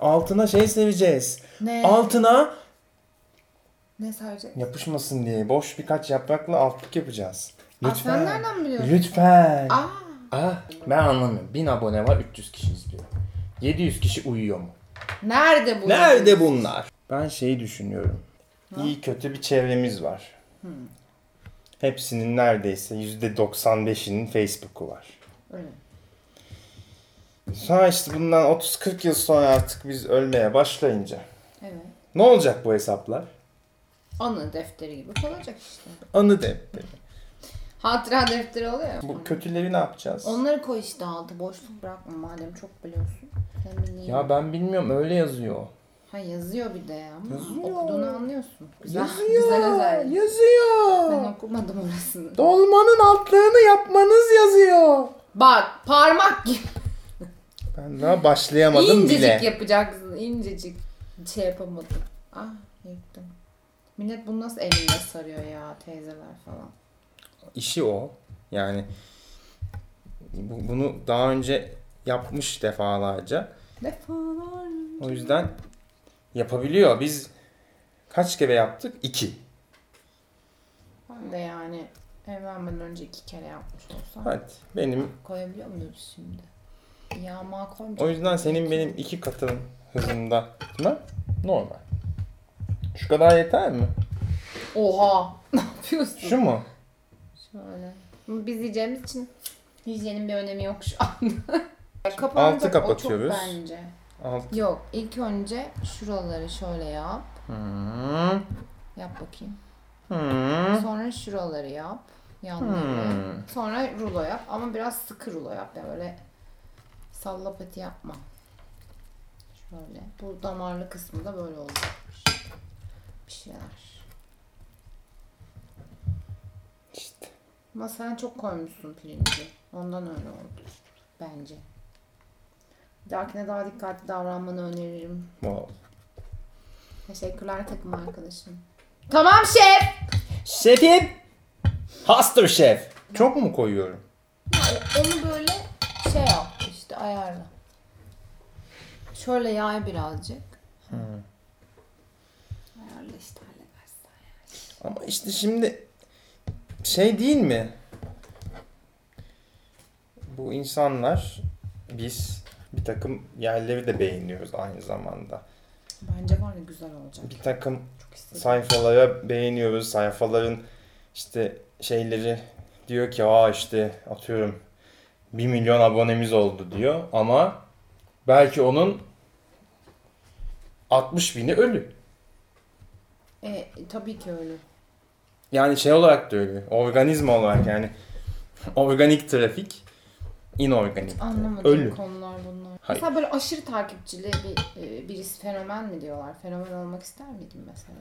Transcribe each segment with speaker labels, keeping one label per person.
Speaker 1: altına şey seveceğiz.
Speaker 2: Ne?
Speaker 1: Altına
Speaker 2: Ne sadece?
Speaker 1: yapışmasın diye boş birkaç yaprakla altlık yapacağız.
Speaker 2: Aa,
Speaker 1: Lütfen.
Speaker 2: sen nereden biliyorsun?
Speaker 1: Lütfen.
Speaker 2: Aa,
Speaker 1: Ah, ben anlamıyorum. 1000 abone var 300 kişi izliyor. 700 kişi uyuyor mu?
Speaker 2: nerede bu?
Speaker 1: Nerede bunlar? Ben şeyi düşünüyorum. İyi kötü bir çevremiz var.
Speaker 2: Hmm.
Speaker 1: Hepsinin neredeyse %95'inin Facebook'u var.
Speaker 2: Öyle.
Speaker 1: Sonra işte bundan 30-40 yıl sonra artık biz ölmeye başlayınca
Speaker 2: Evet.
Speaker 1: ne olacak bu hesaplar?
Speaker 2: Anı defteri gibi kalacak işte.
Speaker 1: Anı defteri.
Speaker 2: Hatıra defteri oluyor ya.
Speaker 1: Bu kötüleri ne yapacağız?
Speaker 2: Onları koy işte altı. Boşluk bırakma madem çok biliyorsun. Sen bileyim.
Speaker 1: Ya ben bilmiyorum öyle yazıyor.
Speaker 2: Ha yazıyor bir de ya. Ama
Speaker 1: Yazıyor.
Speaker 2: Okuduğunu anlıyorsun. Güzel, güzel özellik. Ben
Speaker 1: yazıyor.
Speaker 2: okumadım orasını.
Speaker 1: Dolmanın altlığını yapmanız yazıyor.
Speaker 2: Bak parmak gibi.
Speaker 1: Ben daha başlayamadım
Speaker 2: İncecik
Speaker 1: bile.
Speaker 2: yapacaksın. incecik. Şey yapamadım. Ah yıktım. Millet bunu nasıl elinde sarıyor ya teyzeler falan.
Speaker 1: İşi o. Yani bu- bunu daha önce yapmış defalarca.
Speaker 2: Defalar.
Speaker 1: O yüzden yapabiliyor. Biz kaç kere yaptık? İki.
Speaker 2: Ben de yani evlenmeden önce iki kere yapmış olsam.
Speaker 1: Hadi benim
Speaker 2: Koyabiliyor muyuz şimdi? Yağma koymayacak.
Speaker 1: o yüzden senin benim iki katım hızımda ne? normal. Şu kadar yeter mi?
Speaker 2: Oha! Ne yapıyorsun?
Speaker 1: Şu mu?
Speaker 2: Şöyle. Bunu Biz yiyeceğimiz için hijyenin bir önemi yok şu anda.
Speaker 1: Altı
Speaker 2: Kapanacak o çok
Speaker 1: kapatıyoruz.
Speaker 2: bence.
Speaker 1: Alt.
Speaker 2: Yok ilk önce şuraları şöyle yap.
Speaker 1: Hmm.
Speaker 2: Yap bakayım.
Speaker 1: Hmm.
Speaker 2: Sonra şuraları yap. Yanları.
Speaker 1: Hmm.
Speaker 2: Sonra rulo yap ama biraz sıkı rulo yap. Yani böyle sallapati yapma. Şöyle. Bu damarlı kısmı da böyle olacakmış. Bir şeyler.
Speaker 1: İşte.
Speaker 2: Ama sen çok koymuşsun pirinci. Ondan öyle oldu. Bence. Bir dahakine daha dikkatli davranmanı öneririm.
Speaker 1: Wow.
Speaker 2: Teşekkürler takım arkadaşım. Tamam şef!
Speaker 1: Şefim! Hastır şef! Çok mu koyuyorum?
Speaker 2: Hani Onu böyle şey yap işte ayarla. Şöyle yay birazcık. Ayarla işte halledersin.
Speaker 1: Ama işte şimdi şey değil mi? Bu insanlar biz bir takım yerleri de beğeniyoruz aynı zamanda.
Speaker 2: Bence var ya güzel olacak.
Speaker 1: Bir takım
Speaker 2: Çok istedim.
Speaker 1: sayfalara beğeniyoruz. Sayfaların işte şeyleri diyor ki aa işte atıyorum 1 milyon abonemiz oldu diyor ama belki onun 60 bini ölü.
Speaker 2: E, tabii ki öyle.
Speaker 1: Yani şey olarak da öyle. Organizma olarak yani. Organik trafik, inorganik. trafik.
Speaker 2: Anlamadığım
Speaker 1: Ölü.
Speaker 2: konular bunlar.
Speaker 1: Hayır.
Speaker 2: Mesela böyle aşırı takipçili bir, e, birisi fenomen mi diyorlar? Fenomen olmak ister miydin mesela?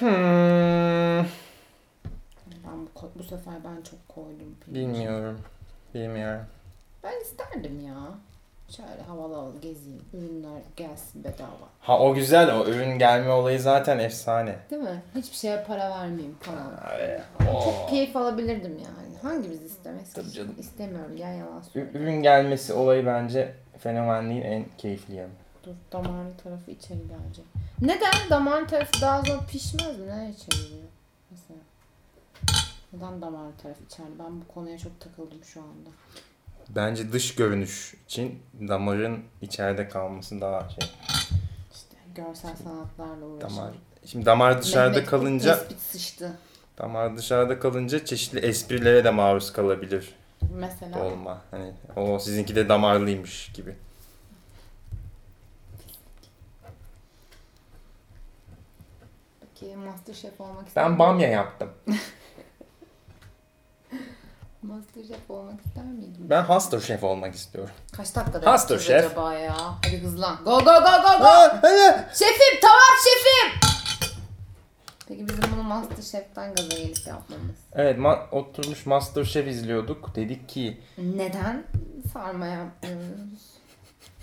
Speaker 1: Hmm,
Speaker 2: Hani Ben bu, ko- bu sefer ben çok koydum. pirinci.
Speaker 1: bilmiyorum. Bilmiyorum.
Speaker 2: Ben isterdim ya. Şöyle havalı havalı gezeyim. Ürünler gelsin bedava.
Speaker 1: Ha o güzel o ürün gelme olayı zaten efsane.
Speaker 2: Değil mi? Hiçbir şeye para vermeyeyim falan.
Speaker 1: Abi,
Speaker 2: Çok
Speaker 1: oo.
Speaker 2: keyif alabilirdim yani. Hangimiz istemez
Speaker 1: Tabii
Speaker 2: ki?
Speaker 1: canım.
Speaker 2: İstemiyorum ya yalan
Speaker 1: Ü-
Speaker 2: söylüyorum.
Speaker 1: Ürün gelmesi olayı bence fenomenliğin en keyifli yanı.
Speaker 2: Dur damarlı tarafı içeri bence. Neden damarlı tarafı daha zor pişmez mi? Neden içeri giriyor? Mesela. Neden damarlı taraf içeride? Ben bu konuya çok takıldım şu anda.
Speaker 1: Bence dış görünüş için damarın içeride kalması daha şey.
Speaker 2: İşte görsel sanatlarla uğraşan.
Speaker 1: Damar. Şimdi damar dışarıda
Speaker 2: Mehmet
Speaker 1: kalınca
Speaker 2: Tespit sıçtı.
Speaker 1: damar dışarıda kalınca çeşitli esprilere de maruz kalabilir.
Speaker 2: Mesela.
Speaker 1: olma. Hani o sizinki de damarlıymış gibi.
Speaker 2: Peki Masterchef olmak ister
Speaker 1: Ben
Speaker 2: miydin?
Speaker 1: bamya yaptım.
Speaker 2: Masterchef olmak ister miydin?
Speaker 1: Ben hasta şef olmak istiyorum.
Speaker 2: Kaç dakikada
Speaker 1: Hasta
Speaker 2: yapacağız
Speaker 1: şef.
Speaker 2: acaba ya? Hadi hızlan. Go go go go go. Şefim tamam şefim. Peki bizim bunu Masterchef'ten gaza gelip yapmamız.
Speaker 1: Evet ma- oturmuş master şef izliyorduk. Dedik ki
Speaker 2: Neden sarma yapmıyoruz?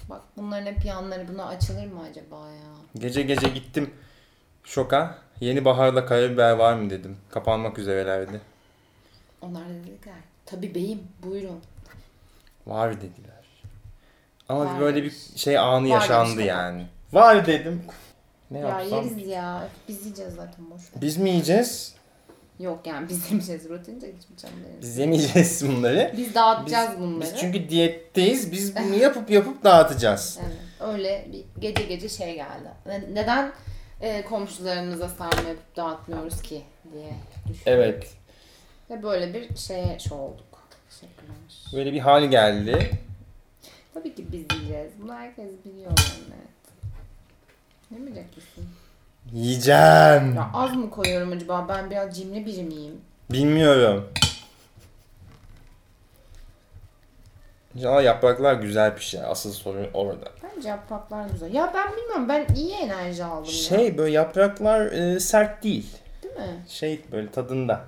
Speaker 2: Bak bunların hep yanları buna açılır mı acaba ya?
Speaker 1: gece gece gittim şoka. Yeni baharla karabiber var mı dedim. Kapanmak üzerelerdi.
Speaker 2: Onlar da dediler. Tabii beyim buyurun.
Speaker 1: Var dediler. Ama
Speaker 2: Varmış.
Speaker 1: böyle bir şey anı yaşandı
Speaker 2: demiş
Speaker 1: yani. Var dedim. Ne
Speaker 2: Ya
Speaker 1: yapsam?
Speaker 2: yeriz ya. Biz yiyeceğiz zaten boş ver.
Speaker 1: Biz mi yiyeceğiz?
Speaker 2: Yok yani biz yemeyeceğiz. Rutin de içmeyeceğim deriz.
Speaker 1: Biz yemeyeceğiz bunları.
Speaker 2: Biz
Speaker 1: Biz,
Speaker 2: dağıtacağız bunları.
Speaker 1: biz çünkü diyetteyiz. Biz bunu yapıp yapıp dağıtacağız.
Speaker 2: Evet, öyle bir gece gece şey geldi. Ne- Neden e, komşularımıza sarma yapıp dağıtmıyoruz ki diye düşündük.
Speaker 1: Evet.
Speaker 2: Ve böyle bir şeye şey olduk. Teşekkürler.
Speaker 1: Böyle bir hal geldi.
Speaker 2: Tabii ki biz yiyeceğiz. Bunu herkes biliyor yani. Evet. Ne mi diyeceksin?
Speaker 1: Yiyeceğim.
Speaker 2: Ya az mı koyuyorum acaba? Ben biraz cimri biri miyim?
Speaker 1: Bilmiyorum. Ya yapraklar güzel bir şey. Asıl sorun orada.
Speaker 2: Bence yapraklar güzel. Ya ben bilmiyorum. Ben iyi enerji aldım ya.
Speaker 1: Şey böyle yapraklar e, sert değil.
Speaker 2: Değil mi?
Speaker 1: Şey böyle tadında.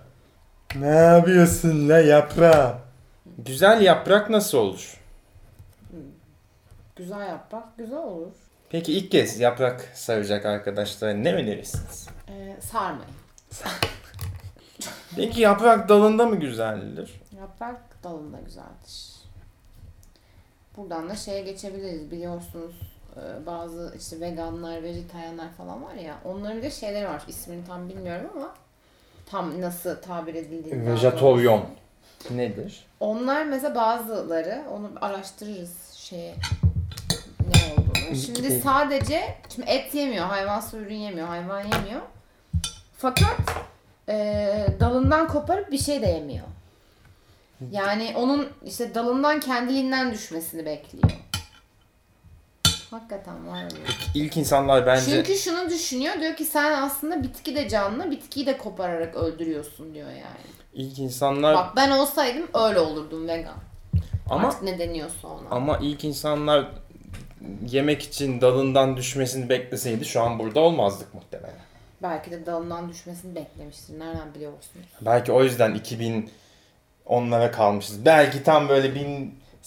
Speaker 1: Ne yapıyorsun la yaprak? Güzel yaprak nasıl olur?
Speaker 2: Güzel yaprak güzel olur.
Speaker 1: Peki ilk kez yaprak saracak arkadaşlara ne önerirsiniz?
Speaker 2: Ee, sarmayın.
Speaker 1: Peki yaprak dalında mı güzeldir?
Speaker 2: Yaprak dalında güzeldir. Buradan da şeye geçebiliriz. Biliyorsunuz e, bazı işte veganlar, vejetaryenler falan var ya. Onların bir de şeyleri var. İsmini tam bilmiyorum ama tam nasıl tabir
Speaker 1: E,
Speaker 2: edildiğini. daha doğrusu.
Speaker 1: Nedir?
Speaker 2: Onlar mesela bazıları onu araştırırız şeye ne olduğunu. Şimdi
Speaker 1: Wikipedia.
Speaker 2: sadece şimdi et yemiyor, hayvansı ürün yemiyor, hayvan yemiyor. Fakat e, dalından koparıp bir şey de yemiyor. Yani onun işte dalından kendiliğinden düşmesini bekliyor. Hakikaten var öyle.
Speaker 1: İlk insanlar bence
Speaker 2: Çünkü şunu düşünüyor diyor ki sen aslında bitki de canlı, bitkiyi de kopararak öldürüyorsun diyor yani.
Speaker 1: ilk insanlar
Speaker 2: Bak ben olsaydım öyle olurdum vegan.
Speaker 1: ama
Speaker 2: Artık ne deniyorsa ona.
Speaker 1: ama ilk insanlar yemek için dalından düşmesini bekleseydi şu an burada olmazdık muhtemelen.
Speaker 2: Belki de dalından düşmesini beklemiştir. Nereden biliyorsunuz?
Speaker 1: Belki o yüzden 2000 onlara kalmışız. Belki tam böyle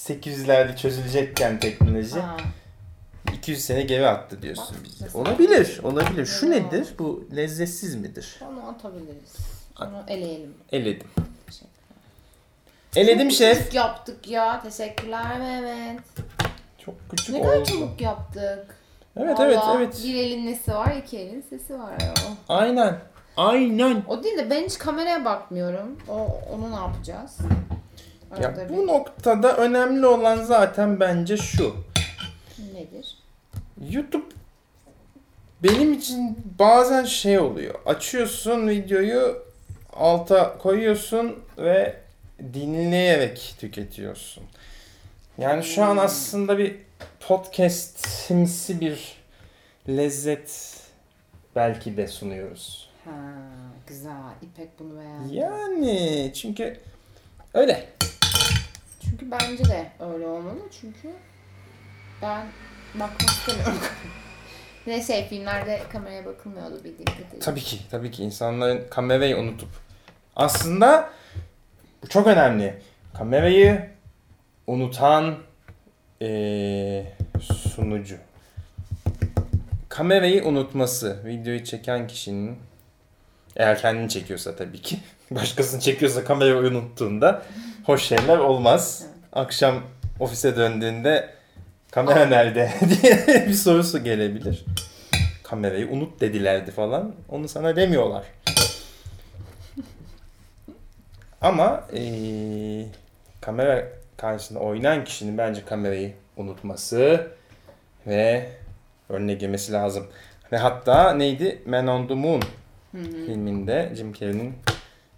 Speaker 1: 1800'lerde çözülecekken teknoloji
Speaker 2: Aa,
Speaker 1: 200 sene geri attı diyorsun
Speaker 2: Bak,
Speaker 1: bize.
Speaker 2: mesela.
Speaker 1: Olabilir, olabilir. Şu
Speaker 2: Evet.
Speaker 1: nedir? Bu lezzetsiz midir?
Speaker 2: onu atabiliriz. Onu eleyelim.
Speaker 1: Eledim.
Speaker 2: Teşekkür.
Speaker 1: Eledim şef.
Speaker 2: Çabuk yaptık ya. Teşekkürler Mehmet.
Speaker 1: Çok küçük
Speaker 2: Ne
Speaker 1: oldu.
Speaker 2: kadar çabuk yaptık.
Speaker 1: Evet evet
Speaker 2: Vallahi
Speaker 1: evet.
Speaker 2: Bir elin nesi var, iki elin sesi var. Ya.
Speaker 1: Aynen. Aynen.
Speaker 2: O değil de ben hiç kameraya bakmıyorum. O onu ne yapacağız? Arada
Speaker 1: Ya
Speaker 2: bir
Speaker 1: bu noktada önemli olan zaten bence şu.
Speaker 2: nedir?
Speaker 1: YouTube benim için bazen şey oluyor. Açıyorsun videoyu alta koyuyorsun ve dinleyerek tüketiyorsun. Yani şu an aslında bir podcastimsi bir lezzet belki de sunuyoruz.
Speaker 2: Ha, güzel. İpek bunu beğendi.
Speaker 1: Yani çünkü öyle.
Speaker 2: Çünkü bence de öyle olmalı çünkü ben bakmak istemiyorum. ne şey filmlerde kameraya bakılmıyordu bildiğim kadarıyla.
Speaker 1: Tabii ki, tabii ki insanların kamerayı unutup aslında bu çok önemli. Kamerayı unutan eee, sunucu. Kamerayı unutması videoyu çeken kişinin eğer kendini çekiyorsa tabii ki. Başkasını çekiyorsa kamerayı unuttuğunda hoş şeyler olmaz.
Speaker 2: Evet.
Speaker 1: Akşam ofise döndüğünde kamera nerede diye bir sorusu gelebilir. Kamerayı unut dedilerdi falan. Onu sana demiyorlar. Ama eee, kamera karşısında oynayan kişinin bence kamerayı unutması ve önüne girmesi lazım. Ve hatta neydi? Man on the Moon
Speaker 2: Hı hı.
Speaker 1: filminde Jim Carrey'nin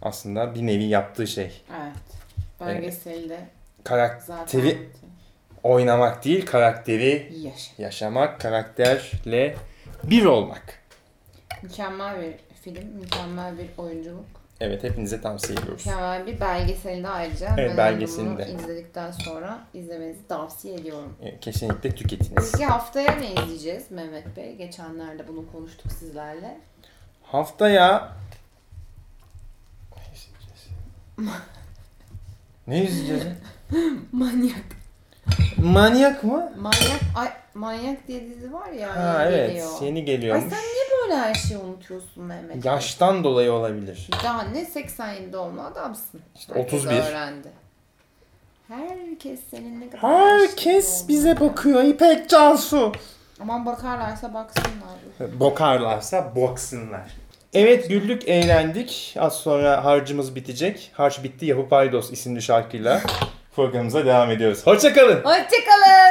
Speaker 1: aslında bir nevi yaptığı şey.
Speaker 2: Evet. Belgeselde zaten
Speaker 1: Karakteri oynamak değil, karakteri
Speaker 2: yaşa.
Speaker 1: yaşamak, karakterle bir olmak.
Speaker 2: Mükemmel bir film, mükemmel bir oyunculuk.
Speaker 1: Evet hepinize tavsiye ediyoruz.
Speaker 2: Mükemmel bir belgeseli de ayrıca
Speaker 1: Evet,
Speaker 2: ben
Speaker 1: belgeselini
Speaker 2: bunu
Speaker 1: de.
Speaker 2: izledikten sonra izlemenizi tavsiye ediyorum.
Speaker 1: E, Kesinlikle tüketiniz.
Speaker 2: Peki haftaya ne izleyeceğiz Mehmet Bey? Geçenlerde bunu konuştuk sizlerle.
Speaker 1: Haftaya ne izleyeceğiz?
Speaker 2: Manyak.
Speaker 1: Manyak mı?
Speaker 2: Manyak, ay, manyak diye dizi var ya.
Speaker 1: Ha
Speaker 2: yeni
Speaker 1: evet
Speaker 2: geliyor.
Speaker 1: yeni
Speaker 2: Ay
Speaker 1: geliyormuş.
Speaker 2: sen niye böyle her şeyi unutuyorsun Mehmet? Bey?
Speaker 1: Yaştan dolayı olabilir.
Speaker 2: Daha ne 87 doğumlu adamsın.
Speaker 1: İşte
Speaker 2: Herkes
Speaker 1: 31.
Speaker 2: öğrendi. Herkes senin ne kadar
Speaker 1: Herkes
Speaker 2: aşık
Speaker 1: bize
Speaker 2: olduğuna.
Speaker 1: bakıyor İpek Cansu.
Speaker 2: Aman bakarlarsa baksınlar.
Speaker 1: Bokarlarsa boksınlar. Evet güldük eğlendik. Az sonra harcımız bitecek. Harç bitti Yahu Paydos isimli şarkıyla programımıza devam ediyoruz. Hoşçakalın.
Speaker 2: Hoşçakalın.